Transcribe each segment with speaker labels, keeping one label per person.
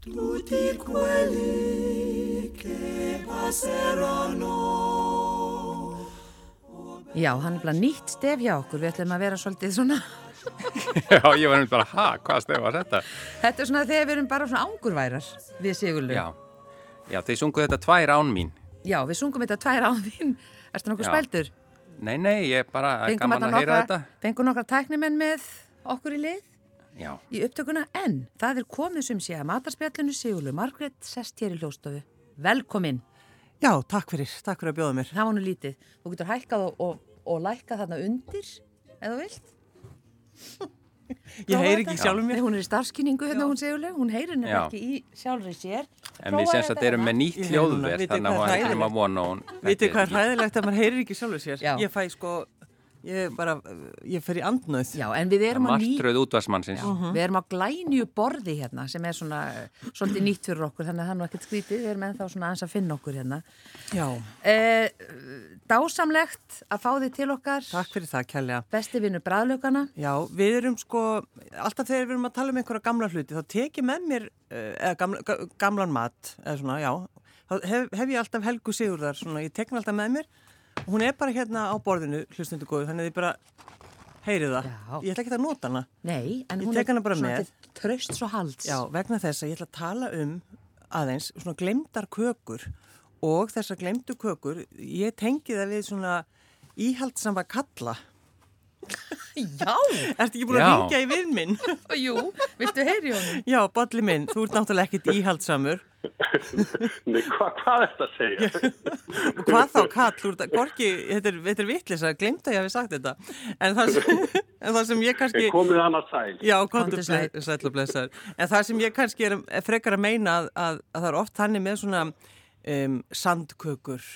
Speaker 1: Tutti quelli che passeranno.
Speaker 2: Já, hann er bara nýtt stef hjá okkur, við ætlum að vera svolítið svona,
Speaker 3: Já, ég var einmitt bara, ha, hvað stef var þetta?
Speaker 2: þetta er svona þegar við erum bara svona angurværar við Sigurlu.
Speaker 3: Já, já þeir sungu þetta tvær án mín.
Speaker 2: Já, við sungum þetta tvær án þín, erstu nokkuð
Speaker 3: Já.
Speaker 2: spældur?
Speaker 3: Nei, nei, ég bara, það er
Speaker 2: Fengum
Speaker 3: gaman að
Speaker 2: þarna
Speaker 3: heyra
Speaker 2: nokkra-
Speaker 3: þetta.
Speaker 2: Fengum nokkra tæknimenn með okkur í lið
Speaker 3: Já,
Speaker 2: í upptökuna, en það er komið sem sé að matarspjallinu Sigurlu Margrét sest hér í hljóstofu. Velkomin,
Speaker 4: Já, takk fyrir, takk fyrir að bjóða mér.
Speaker 2: það var nú lítið. Þú getur hækkað og, og, og lækkað þarna undir, eða þú vilt.
Speaker 4: Ég heyri ekki sjálfur
Speaker 2: Nei,
Speaker 4: mér.
Speaker 2: hún er í starfskynningu hérna hún Sigurlu, hún heyrir nefnilega
Speaker 3: Já.
Speaker 2: ekki í sjálfri sér.
Speaker 3: en við semst að erum
Speaker 2: hérna.
Speaker 3: með
Speaker 4: Ég
Speaker 3: nýtt
Speaker 4: heyri núna,
Speaker 3: hljóðverð,
Speaker 4: vitið
Speaker 3: þannig
Speaker 4: hvað
Speaker 3: að hún er ekki
Speaker 4: hræðilegt?
Speaker 3: nema vona hún.
Speaker 4: Vitið hvað er hræðilegt að maður heyrir ekki sjálfur sér?
Speaker 2: Já.
Speaker 4: Ég fæ sko, ég bara, ég fer í andnöð.
Speaker 2: Já, en við erum að ný...
Speaker 3: Martröð útvarsmannsins.
Speaker 2: Við erum á glænju borði hérna sem er svona eh, svolítið nýtt fyrir okkur þannig að það er nú ekkert skrítið, við erum ennþá svona aðeins að finna okkur hérna.
Speaker 4: Já.
Speaker 2: Eh, dásamlegt að fá þig til okkar,
Speaker 4: Takk fyrir það, kærlega.
Speaker 2: besti vinnu bræðlaugana.
Speaker 4: Já, við erum sko, alltaf þegar við erum að tala um einhverja gamla hluti, þá tek ég með mér, eh, eða gamla, ga- gamlan mat, eða svona, já, þá hef, hef ég alltaf Helgu Sigurðar, svona, ég tek hann alltaf með mér, hún er bara hérna á borðinu, hlustundu góðu, þannig að ég bara heyri það.
Speaker 2: Já.
Speaker 4: Ég ætla ekki að nota hana.
Speaker 2: Nei, en
Speaker 4: Ég
Speaker 2: hún
Speaker 4: tek hana bara
Speaker 2: svona
Speaker 4: með.
Speaker 2: til trösts og halds.
Speaker 4: Já, vegna þess að ég ætla að tala um aðeins svona glemdar kökur og þessar glemdu kökur, ég tengi það við svona íhaldsamma kalla.
Speaker 2: Já,
Speaker 4: Ertu ekki búin að
Speaker 3: Já.
Speaker 4: ringja í vinn minn?
Speaker 2: jú, viltu heyri honum?
Speaker 4: Já, bolli minn, þú ert náttúrulega ekkit íhaldsamur.
Speaker 5: Nei, hva, hvað er þetta að segja?
Speaker 4: Og hvað þá kall, þú ert að gorki, þetta er, þetta er vitlis að glemta ég hafi sagt þetta. En það sem, en það sem ég kannski...
Speaker 5: Ég komið annað sæl.
Speaker 4: Já,
Speaker 2: Komdu
Speaker 4: komdu
Speaker 2: sæll.
Speaker 4: ble- sæll og blessaður. En það sem ég kannski er er frekar að meina að, að, að það er oft þannig með svona um, sandkökur,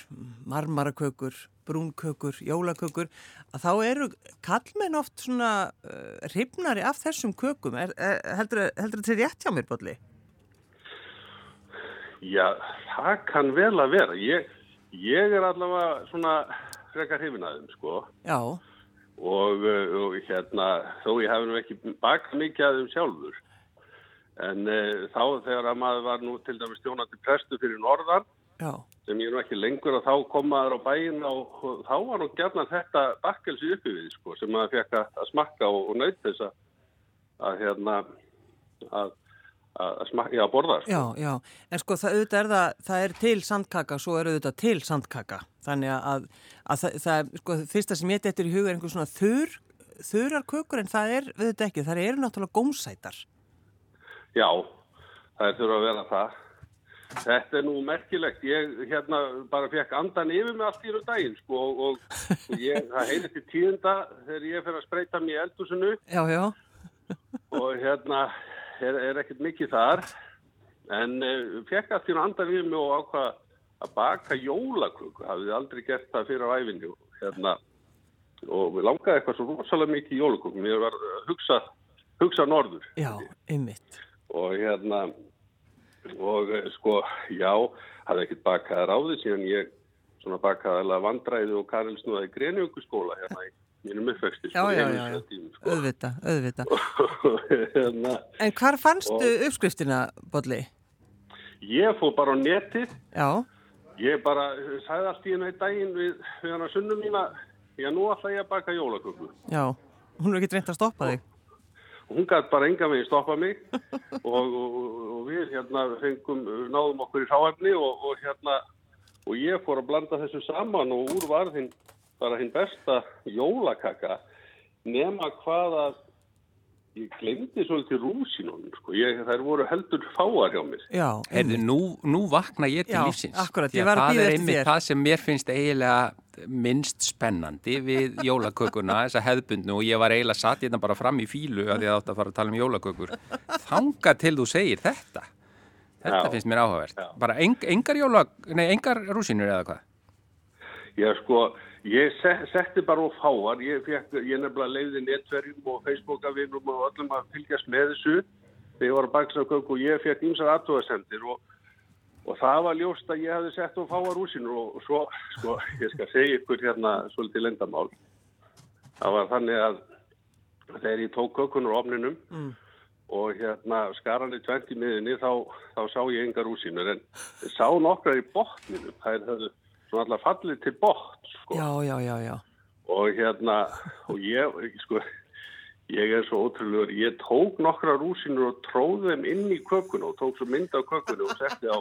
Speaker 4: marmarakökur, brúnkökur, jólakökur, að þá eru kallmenn oft svona uh, hrifnari af þessum kökum. Er, er, heldur heldur þetta er rétt hjá mér, Bolli?
Speaker 5: Já, það kann vel að vera. Ég, ég er allavega svona frekar hrifinaðum, sko.
Speaker 4: Já,
Speaker 5: Og, uh, og hérna, þó ég hef nú ekki bakað mikið að þeim sjálfur. En uh, þá þegar að maður var nú til dæmis stjónandi prestu fyrir norðan,
Speaker 4: já,
Speaker 5: sem ég er nú ekki lengur að þá kom maður á bæin og, og þá var nú gerna þetta bakkelsi uppi við sko sem maður fekk að, að smakka og, og naut þess að, að hérna að, að smakka, já að borða sko.
Speaker 4: já, já. En sko það auðvitað er það, það er til sandkaka, svo er auðvitað til sandkaka. Þannig að, að það, það, sko, fyrsta sem ég dettur í huga er einhver svona þurr, þurrarkökur en það er, við þetta ekki, það eru náttúrulega gómsætar.
Speaker 5: Já, það er þurfa að vera það. Þetta er nú merkilegt. Ég hérna bara fekk andan yfir mig allt í einu daginn sko og, og, og ég, það heilir til tíðenda þegar ég fer að spreita mér í eldhúsinu
Speaker 4: Já, já,
Speaker 5: og hérna er, er ekkert mikið þar en uh, fekk að þínu andan við mig og ákvað að baka jólaköku hafið þið aldrei gert það fyrir á æfinni og hérna og við langaði eitthvað svo rosalega mikið í jólaköku mér var að hugsa, hugsa norður
Speaker 4: já, ymmit.
Speaker 5: og hérna og eh, sko, já hafði ekkert bakað þær áður síðan ég svona bakaði alveg vandræði og Karilsnúðaði grenjöku skóla hérna í mínum uppvexti
Speaker 4: Já, já, já, já.
Speaker 5: sko.
Speaker 4: Öðvita, öðvita.
Speaker 5: hérna,
Speaker 4: En hvar fannstu uppskriftina, Bolli?
Speaker 5: ég fór bara á netið
Speaker 4: Já,
Speaker 5: Ég bara uh, sagði allt í hennu í daginn við, við hann að sunnum mína, já nú ætla ég að baka jólaköku.
Speaker 4: já. Hún er ekki reynd að stoppa þig.
Speaker 5: Og Hún gæti bara enga meginn stoppa mig og, og, og við hérna fengum, náðum okkur í hráefni og, og hérna, og ég fór að blanda þessu saman og úr var þinn bara hinn besta jólakaka nema hvað að ég glemdi svolítið rúsinunum, sko, ég, þær voru heldur fáar hjá mér.
Speaker 4: Já,
Speaker 3: Herðu, nú, nú vakna ég til
Speaker 4: Já,
Speaker 3: lífsins.
Speaker 4: akkurat,
Speaker 3: Því
Speaker 4: ég
Speaker 3: að
Speaker 4: var að
Speaker 3: það
Speaker 4: bíða
Speaker 3: er
Speaker 4: eftir
Speaker 3: einmitt
Speaker 4: þér.
Speaker 3: það sem mér finnst eiginlega minnst spennandi við jólakökuna, þessa hefðbundnu og ég var eiginlega satt hérna bara fram í fílu að ég átti að fara að tala um jólakökur. Þanga til þú segir þetta. Þetta
Speaker 5: Já.
Speaker 3: finnst mér áhugavert.
Speaker 5: Já.
Speaker 3: Bara eng, engar, jóla, nei, engar rúsinur eða hvað?
Speaker 5: Já, sko, ég se- setti bara og fáar, ég, fekk, ég nefnilega leiði netverjum og Facebookavinnum og öllum að fylgjast með þessu þegar ég var að baksa köku og ég fekk ýmsar aðtóðasendir og, og það var ljóst að ég hefði sett og fáar úsinu og, og svo, sko, ég skal segja ykkur hérna svolítið lendamál. Það var þannig að þegar ég tók kökunar á ofninum og hérna skaran í 20 miðinni þá, þá sá ég engar úsínur en sá nokkrar í botninu það er svona alltaf fallið til botn sko.
Speaker 4: Já, já, já, já.
Speaker 5: og hérna og ég sko ég er svo ótrúlegur, ég tók nokkrar rúsinur og tróði þeim inn í kökuna og tók svo mynd af kökuna og setti á,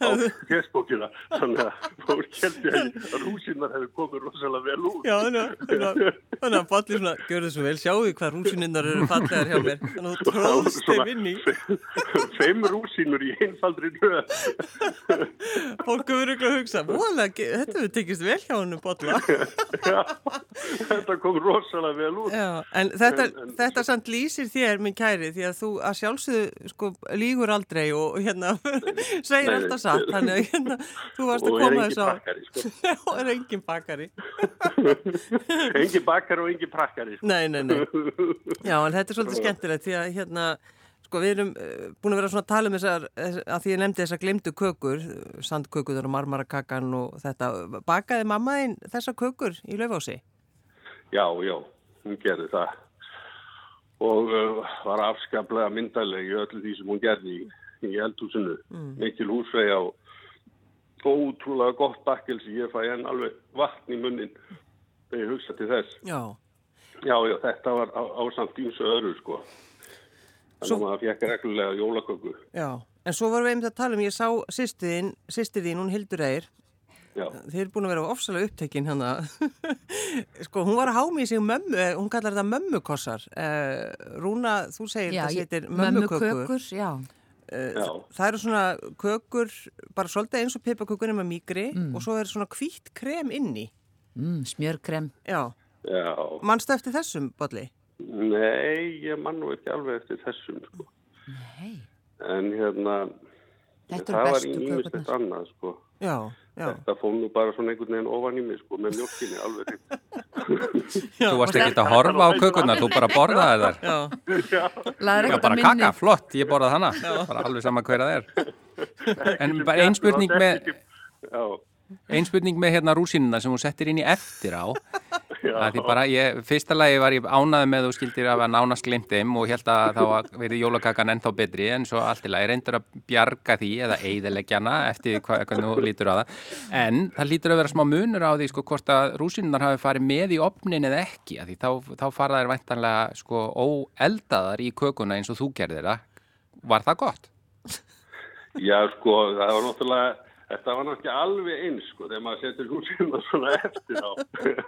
Speaker 5: á Facebookina þannig að fólk heldur að rúsinar hefur komið rosalega vel út
Speaker 4: Já, þannig að- þannig að- þannig að fallir svona, gjör þessu vel, sjáu hvað rúsininnar eru fallegar hjá mér. Þannig að þú
Speaker 5: Og það voru
Speaker 4: tróðst þeim inn í.
Speaker 5: svona Fimm rúsinur í einfaldri nöð
Speaker 4: Fólk hefur örugglega að hugsa, múalega, þetta hefur tekist vel hjá honum bolla.
Speaker 5: Þetta kom rosalega vel út
Speaker 4: Já, en þetta,
Speaker 5: En- en-
Speaker 4: þetta samt lýsir þér, minn kæri, því að þú að sjálfsögðu sko lígur aldrei og, og hérna segir
Speaker 5: Nei, nei.
Speaker 4: alltaf satt, þannig að hérna, þú varst að
Speaker 5: Og er
Speaker 4: koma
Speaker 5: engin
Speaker 4: þess á.
Speaker 5: pakkari, sko.
Speaker 4: Já, er engin bakari.
Speaker 5: Engi bakkar og engi prakkari sko.
Speaker 4: Nei, nei, nei. Já, en þetta er svolítið skemmtilegt því að hérna, sko, við erum uh, búin að vera svona að tala um þessar, eh, að því ég nefndi þessar glemdu kökur, sandkökuður og marmarakakan og þetta. Bakaði mamma þín þessar kökur í laufási?
Speaker 5: Já, já, hún gerði það og uh, var afskaplega myndaleg í öllu því sem hún gerði í, í eldhúsinu
Speaker 2: Mm.
Speaker 5: mikil húsvega og ótrúlega gott bakkelsi ég fæ enn alveg vatn í munnin þegar ég hugsa til þess
Speaker 4: Já.
Speaker 5: Já, já, þetta var á, ásamt ímsu öðru sko þannig
Speaker 4: Svo-
Speaker 5: að maður fekk reglulega jólaköku
Speaker 4: Já, en svo vorum við einmitt að tala um, ég sá sýstiðin, sýstiðin, hún Hildur Eir,
Speaker 5: Já,
Speaker 4: þið eru búin að vera ofsalega upptekinn hann sko, hún var að hámi í sig mömmu, eh, hún kallar þetta mömmukossar. Eh, Rúna, þú segir þetta
Speaker 2: ég-
Speaker 4: sýttir mömmukökur.
Speaker 2: mömmukökur, já, Eh,
Speaker 5: já,
Speaker 4: Það eru svona kökur, bara svolítið eins og pipakökunum með mýgri og svo er svona hvítt krem inni.
Speaker 2: mm, smjörkrem.
Speaker 4: Já,
Speaker 5: já
Speaker 4: mannstu eftir þessum, Bolli?
Speaker 5: Nei, ég mann nú ekki alveg eftir þessum sko.
Speaker 2: Nei,
Speaker 5: en hérna
Speaker 2: Þetta eru
Speaker 5: það var
Speaker 2: bestu
Speaker 5: ímist
Speaker 2: kökurnar.
Speaker 5: eitt annað sko
Speaker 4: Já, já.
Speaker 5: Þetta fór nú bara svona einhvern veginn ofan í mig sko, með mjölkinni alveg hreint.
Speaker 3: Þú varst ekkert að horfa á kökunar, þú bara borðaði þar.
Speaker 4: Já,
Speaker 2: laður
Speaker 3: Já,
Speaker 2: ekkert að
Speaker 3: bara
Speaker 2: minni.
Speaker 3: kaka, flott, ég borðað hana. Bara alveg sama hverja það er. En bara ein spurning með,
Speaker 5: Já,
Speaker 3: ein spurning með hérna rúsínuna sem hún settir inn í eftir á. Að því bara, ég, fyrsta lagi var ég ánaði með þú skildir að vera nánast glimt þeim og held að þá var- verið jólakakan ennþá betri en svo allt í lagi reyndur að bjarga því eða eiðileggjana eftir hva, hvernig þú lítur á það. En það lítur að vera smá munur á því sko hvort að rúsínunar hafi farið með í opnin eða ekki. Að því þá, þá fara þær væntanlega sko óeldaðar í kökuna eins og þú gerðir það. Var það gott?
Speaker 5: já, sko, það var náttúrulega, þetta var náttúrulega alveg eins, sko, þegar maður setur húsina svona eftir á.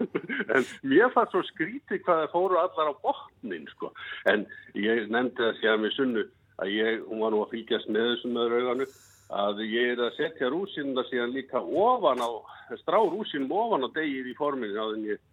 Speaker 5: en mér fannst svo skrítið hvað það fóru allar á botnin, sko. En ég nefndi það sér með sunnu að ég, hún var nú að fylgjast með þessum með rauganu, að ég er að setja rúsinna síðan líka ofan á, strá rúsinum ofan á degið í forminu áður en ég,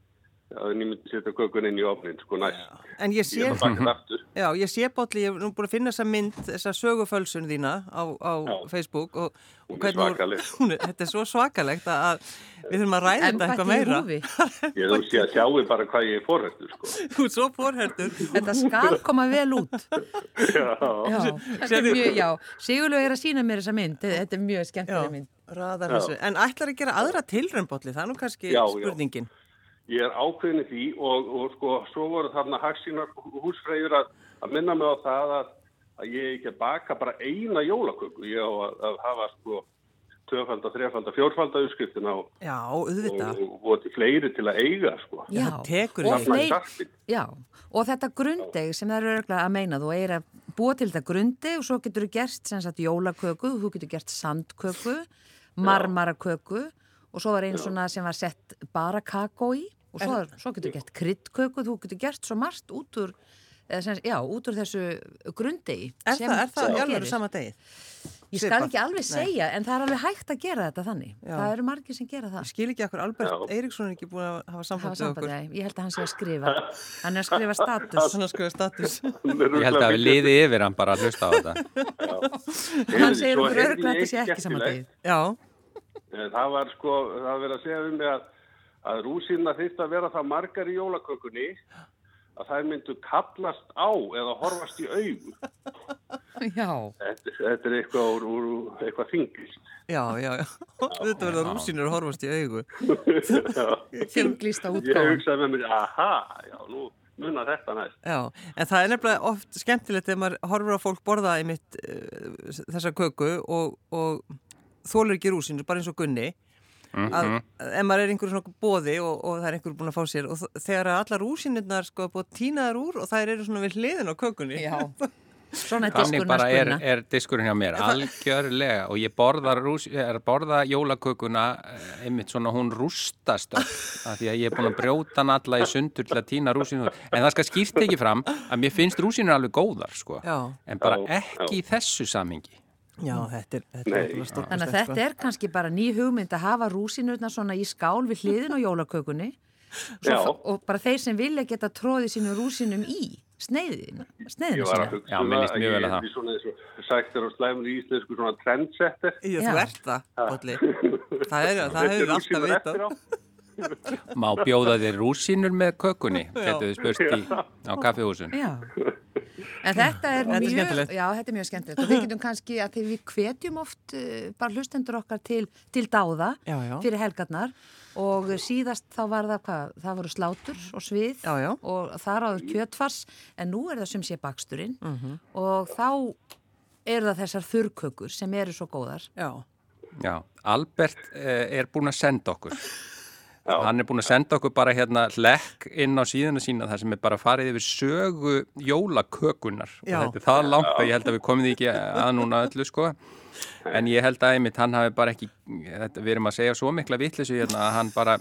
Speaker 5: áður en ég myndi setja kökun inn í ofnin, sko, næst.
Speaker 4: en ég sé...
Speaker 5: Ég er að baka það aftur.
Speaker 4: Já, ég sé Bolli, ég er nú búin að finna þessa mynd, þessa sögufölsun þína á, á
Speaker 5: Já.
Speaker 4: Facebook og, og
Speaker 5: Hún er
Speaker 4: hún-
Speaker 5: svakaleg.
Speaker 4: hún er- þetta er svo svakalegt að, að við þurfum að ræða þetta eitthvað
Speaker 2: Embætti í
Speaker 4: meira.
Speaker 2: húfi.
Speaker 5: Ég þú sé að sjáu bara hvað ég er forhættu, sko.
Speaker 4: Þú er svo fórhertur.
Speaker 2: Þetta skal koma vel út. Já, þetta er
Speaker 4: Sérðu-
Speaker 2: mjög, já, Sigurlaug er að sína mér þessa mynd, þetta er mjög
Speaker 4: Já,
Speaker 2: skemmtileg mynd.
Speaker 4: ræðar
Speaker 5: Já.
Speaker 4: þessu. En ætlar að gera aðra tilrönd Bolli, það er nú kannski
Speaker 5: Já, já.
Speaker 4: spurningin.
Speaker 5: Ég er ákveðin í því og, og sko, svo voru þarna hagsínar húsfreyjur að, að minna mig á það að, að ég er ekki að baka bara eina jólaköku. Ég á að, að hafa sko tvöfalda, þrefalda, fjórfalda uppskriftina og,
Speaker 4: Já,
Speaker 5: og,
Speaker 4: auðvitað.
Speaker 5: og voti fleiri til að eiga, sko.
Speaker 2: Já,
Speaker 4: það tekur
Speaker 2: og
Speaker 4: í.
Speaker 2: fleiri-
Speaker 5: Allan kraftinn.
Speaker 2: já, og þetta grundeg sem það eru örgulega að meina, þú er að búa til þetta grundeg og svo getur þú gert sem sagt jólaköku, þú getur gert sandköku, marmaraköku og svo var einn svona sem var sett bara kakó í og svo, er, svo getur þú gert kryddköku, þú getur gert svo margt út úr, eða sem, já, út úr þessu grundegi.
Speaker 4: Er
Speaker 2: sem-
Speaker 4: það, er
Speaker 2: sem
Speaker 4: það
Speaker 2: þú
Speaker 4: í alveg
Speaker 2: gerir.
Speaker 4: sama degið?
Speaker 2: Ég
Speaker 4: Svipað.
Speaker 2: skal ekki alveg segja, en það er alveg hægt að gera þetta þannig.
Speaker 4: Já.
Speaker 2: Það eru margir sem gera
Speaker 4: Ég
Speaker 2: það.
Speaker 4: skil ekki okkur, Albert
Speaker 5: Já.
Speaker 4: Eiríksson er ekki búin að hafa
Speaker 2: Hafa
Speaker 4: samband við
Speaker 2: sambandi,
Speaker 4: okkur.
Speaker 2: nei, ég held að hann sé að skrifa. Hann er að skrifa status.
Speaker 4: Svona skoða status.
Speaker 3: Ég held að við liði yfir hann bara að hlusta á þetta.
Speaker 2: Hann segir okkur örgulega að þetta sé ekki samandi.
Speaker 4: Já,
Speaker 5: Eh, Það var sko, það verið að segja um mig að, að rúsina þýtti að vera það margar í jólakökunni að þær myndu kallast á eða horfast í augu.
Speaker 2: Já,
Speaker 5: Þetta, þetta er eitthvað, úr, úr, úr- eitthvað þingist.
Speaker 4: já, já, já. Þetta verður rúsinur að horfast í augu.
Speaker 5: Já.
Speaker 2: þinglista
Speaker 5: Ég
Speaker 2: útgáðan.
Speaker 5: hugsaði með mér, aha, já, nú, muna þetta næst.
Speaker 4: Já, en það er nefnilega oft skemmtilegt þegar maður horfur á fólk borða einmitt uh, þessa köku og, og þólur ekki rúsinu, bara eins og gunni að ef maður er einhverjum svona bóði og, og það er einhverjum búin að fá sér og þ- þegar að allar rúsinirnar sko er búið að týna þær úr og þær eru svona við hliðin á kökunni
Speaker 2: Já, svona er
Speaker 3: Þannig
Speaker 2: diskurna
Speaker 3: bara er,
Speaker 2: skunna.
Speaker 3: er diskurinn hjá mér, algjörlega og ég borða, rús, er að borða jólakökuna eh, einmitt svona hún rústast öll, af því að ég er búin að brjóta hann alla í sundur til að týna rúsinu en það skal skýrt ekki fram að mér finnst rúsinu alveg góðar sko
Speaker 4: Já.
Speaker 3: en bara
Speaker 5: Já,
Speaker 3: ekki í þessu samhengi
Speaker 4: Já, þetta er, Mm. þetta er
Speaker 5: Nei.
Speaker 4: náttúrulega stórkostlegt, sko.
Speaker 2: Þannig að þetta
Speaker 3: sko.
Speaker 2: er kannski bara ný hugmynd að hafa rúsinurna svona í skál við hliðin á jólakökunni
Speaker 5: Já.
Speaker 2: Svo, og bara þeir sem vilja geta tróði sínum rúsinum í sneiðin,
Speaker 5: Ég
Speaker 2: sneiðin
Speaker 5: var að
Speaker 2: sína.
Speaker 5: hugsa
Speaker 3: Já, mér líst mjög vel á
Speaker 5: ég
Speaker 3: það.
Speaker 5: er svona eins og sagt er á slæmur í íslensku svona trendsetter.
Speaker 4: Já,
Speaker 2: Já.
Speaker 4: þú ert það, Bolli Það er, það hefur við alltaf vitað
Speaker 3: Má bjóða þér rúsinur með kökunni getur þið spurst í, á kaffihúsun
Speaker 2: Já. En þetta
Speaker 4: Þetta
Speaker 2: er
Speaker 4: er
Speaker 2: mjög,
Speaker 4: skemmtilegt.
Speaker 2: já, þetta er mjög skemmtilegt og við getum kannski að því við hvetjum oft eh, bara hlustendur okkar til, til dáða
Speaker 4: Já, já.
Speaker 2: fyrir helgarnar og síðast þá var það hvað, það voru slátur og svið
Speaker 4: Já, já.
Speaker 2: og þar áður kjötfars en nú er það sem sé baksturinn
Speaker 4: Mhm.
Speaker 2: og þá eru það þessar þurrkökur sem eru svo góðar.
Speaker 4: Já,
Speaker 3: Já, Albert eh, er búin að senda okkur Hann er búin að senda okkur bara hérna hlekk inn á síðuna sína þar sem er bara farið yfir sögu jólakökunar
Speaker 4: Já.
Speaker 3: og þetta er það langt að ég held að við komum því ekki að núna öllu sko en ég held að einmitt hann hafi bara ekki þetta, við erum að segja svo mikla vitleysu hérna að hann bara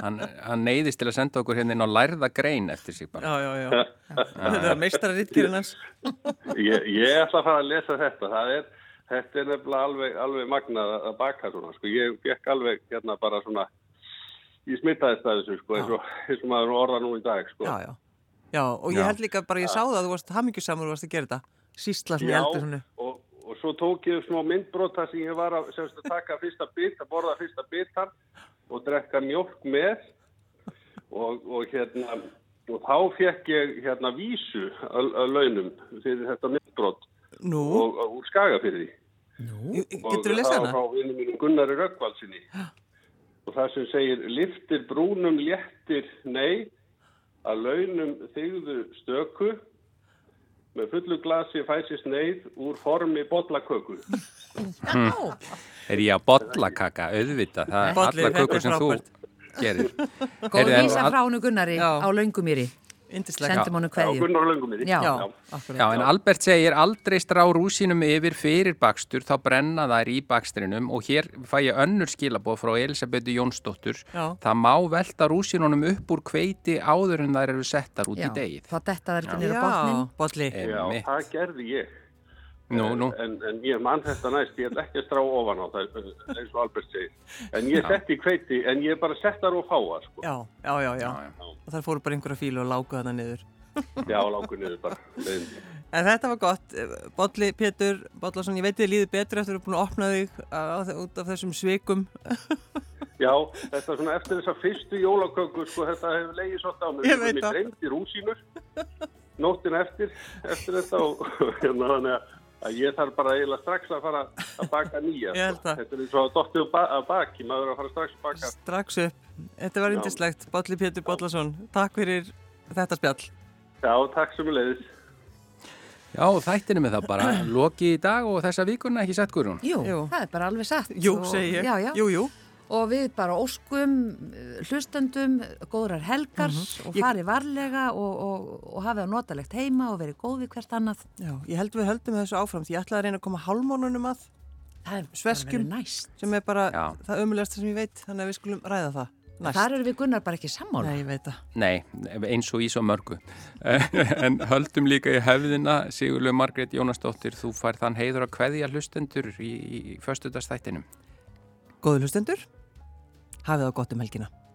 Speaker 3: hann, hann neyðist til að senda okkur hérna inn á lærða grein eftir sig bara
Speaker 4: já, já, já Þetta er meistara rittgirinnans
Speaker 5: Ég, ég ætla að fara að lesa þetta. Það er, þetta er nefnilega alveg, alveg magnað að að baka svona. Sko. Ég gekk alveg hérna bara svona, ég smittaðist að þessu sko, eins og, eins og maður orða nú í dag sko.
Speaker 4: Já, já Já, og ég
Speaker 3: Já.
Speaker 4: held líka bara, ég sá það að þú varst hamingjusamur og varst að gera þetta Sýsla sem ég heldur svona
Speaker 5: og, og svo tók ég smá myndbrota sem ég var að, semst, að taka fyrsta bit, að borða fyrsta bitan og drekka mjólk með og, og hérna og þá fekk ég hérna vísu að, að launum fyrir þetta myndbrot
Speaker 4: Nú,
Speaker 5: og, og úr skaga fyrir því
Speaker 4: getur þú lesað
Speaker 5: Og það
Speaker 4: hana?
Speaker 5: var frá vinnum mínum Gunnari Rökkvaldsinni. Og það sem segir, liftir brúnum léttir nei, að launum þigðu stöku, með fullu glasi fæsist neyð úr formi bollaköku.
Speaker 3: Er ég að bollakaka, auðvitað það er
Speaker 4: Bolli,
Speaker 3: alla
Speaker 4: þetta er
Speaker 3: kökur sem þú
Speaker 4: frábært.
Speaker 3: gerir
Speaker 2: Góð
Speaker 3: Heyrðu, en
Speaker 2: vísa
Speaker 3: al-
Speaker 2: frá húnu Gunnari
Speaker 4: Já.
Speaker 2: á löngumýri,
Speaker 4: Indislega
Speaker 2: sendum honum
Speaker 5: Á
Speaker 2: hverju.
Speaker 5: Gunnar Löngumýri.
Speaker 2: Já.
Speaker 4: Já, akkurat
Speaker 3: Já, en Albert segir aldrei strá rúsinum yfir fyrir bakstur, þá brenna þær í bakstrinum og hér fæ ég önnur skilabóð frá Elisabetu Jónsdóttur.
Speaker 4: Já.
Speaker 3: Það má velta rúsinunum upp úr kveiti áður en þær eru settar út
Speaker 2: Já,
Speaker 3: í degið.
Speaker 2: þá detta það ekki nýra botnin.
Speaker 4: Já, Bolli
Speaker 5: Já,
Speaker 3: Einmitt.
Speaker 5: það gerði ég.
Speaker 3: Nú, nú,
Speaker 5: En, en ég mann þetta næst, ég ætla ekki að strá ofan á það, eins og Albert segir. En ég setti í kveiti, en ég bara settar og fáa, sko.
Speaker 4: Já, já, já, já Og þar fóru bara einhverja fílu og lágu þarna niður
Speaker 5: Já, langur niður bara. leiðin.
Speaker 4: En þetta var gott, Eh, Bolli Pétur Bollarsson, ég veit þið líður betur eftir að þú er búin að opna þig á- út af þessum svikum
Speaker 5: Já, þetta er svona eftir þessa fyrstu jólaköku, sko, þetta hefur leiðið svolítið á mér.
Speaker 4: Ég veit
Speaker 5: það.
Speaker 4: það.
Speaker 5: Mér dreymdi rúsínur nóttina eftir, eftir þetta og hérna þannig að- að ég þarf bara eiginlega strax að fara að baka nýja.
Speaker 4: Ég held
Speaker 5: sko.
Speaker 4: það.
Speaker 5: Þetta er eins og að dottið ba að baki, maður er að fara strax að baka.
Speaker 4: strax upp. Þetta var indislegt, Bolli Pétur Bollarsson. Takk fyrir þetta spjall.
Speaker 5: Já, takk sem er leiðis.
Speaker 3: já, þættinu með það bara. Loki í dag og þessa vikuna ekki sett Guðrún.
Speaker 2: Jú,
Speaker 4: Jú.
Speaker 2: það er bara alveg satt.
Speaker 4: Jú,
Speaker 2: Og-
Speaker 4: segi ég.
Speaker 2: Já, já.
Speaker 4: Jú, jú.
Speaker 2: Og við bara óskum eh, hlustendum, eh, góðrar helgar og
Speaker 4: Ég-
Speaker 2: farið varlega og, og, og hafið á notalegt heima og verið góð við hvert annað.
Speaker 4: Já, ég held við höldum þessu áfram því ég ætlaði að reyna að koma hálmónunum að
Speaker 2: Það er
Speaker 4: Sveskjum.
Speaker 2: bara verið næst.
Speaker 4: sem er bara
Speaker 3: Já.
Speaker 4: það ömulegasta sem ég veit þannig að við skulum ræða það næst.
Speaker 2: Þar eru við Gunnar bara ekki sammála.
Speaker 4: Nei, ég veit það.
Speaker 3: Nei, eins og í svo mörgu. en höldum líka í hefðina, Sigurlu Margrét Jónasdóttir, þú fær þann heiður að kveðja hlustendur í, í, í föstudastættinum.
Speaker 4: Góðu hlustendur, hafið það gott um helgina.